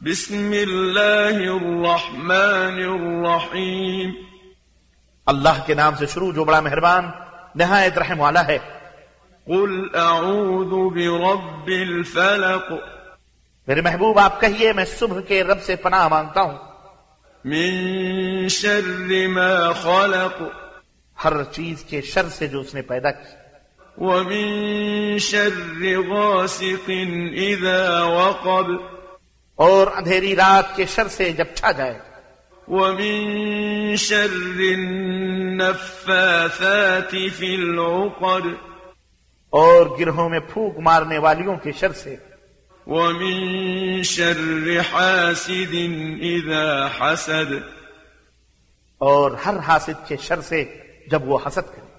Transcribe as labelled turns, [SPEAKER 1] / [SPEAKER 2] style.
[SPEAKER 1] بسم الله الرحمن الرحيم
[SPEAKER 2] अल्लाह के नाम से शुरू जो बड़ा मेहरबान नहायत रहम वाला है
[SPEAKER 1] قل أعوذ برب الفلق
[SPEAKER 2] मेरे महबूब आप कहिए मैं सुबह के रब से पनाह मांगता हूँ
[SPEAKER 1] من شر ما خلق
[SPEAKER 2] हर चीज के शर से जो उसने पैदा की
[SPEAKER 1] ومن شر غاسق إذا وقب
[SPEAKER 2] और अंधेरी रात के शर से जब छा जाए
[SPEAKER 1] ومن شر النفاثات في العقد
[SPEAKER 2] और गिरहों में फूक मारने वालियों के शर से
[SPEAKER 1] ومن شر حاسد إذا حسد
[SPEAKER 2] और हर हासिद के शर से जब वो हसद करे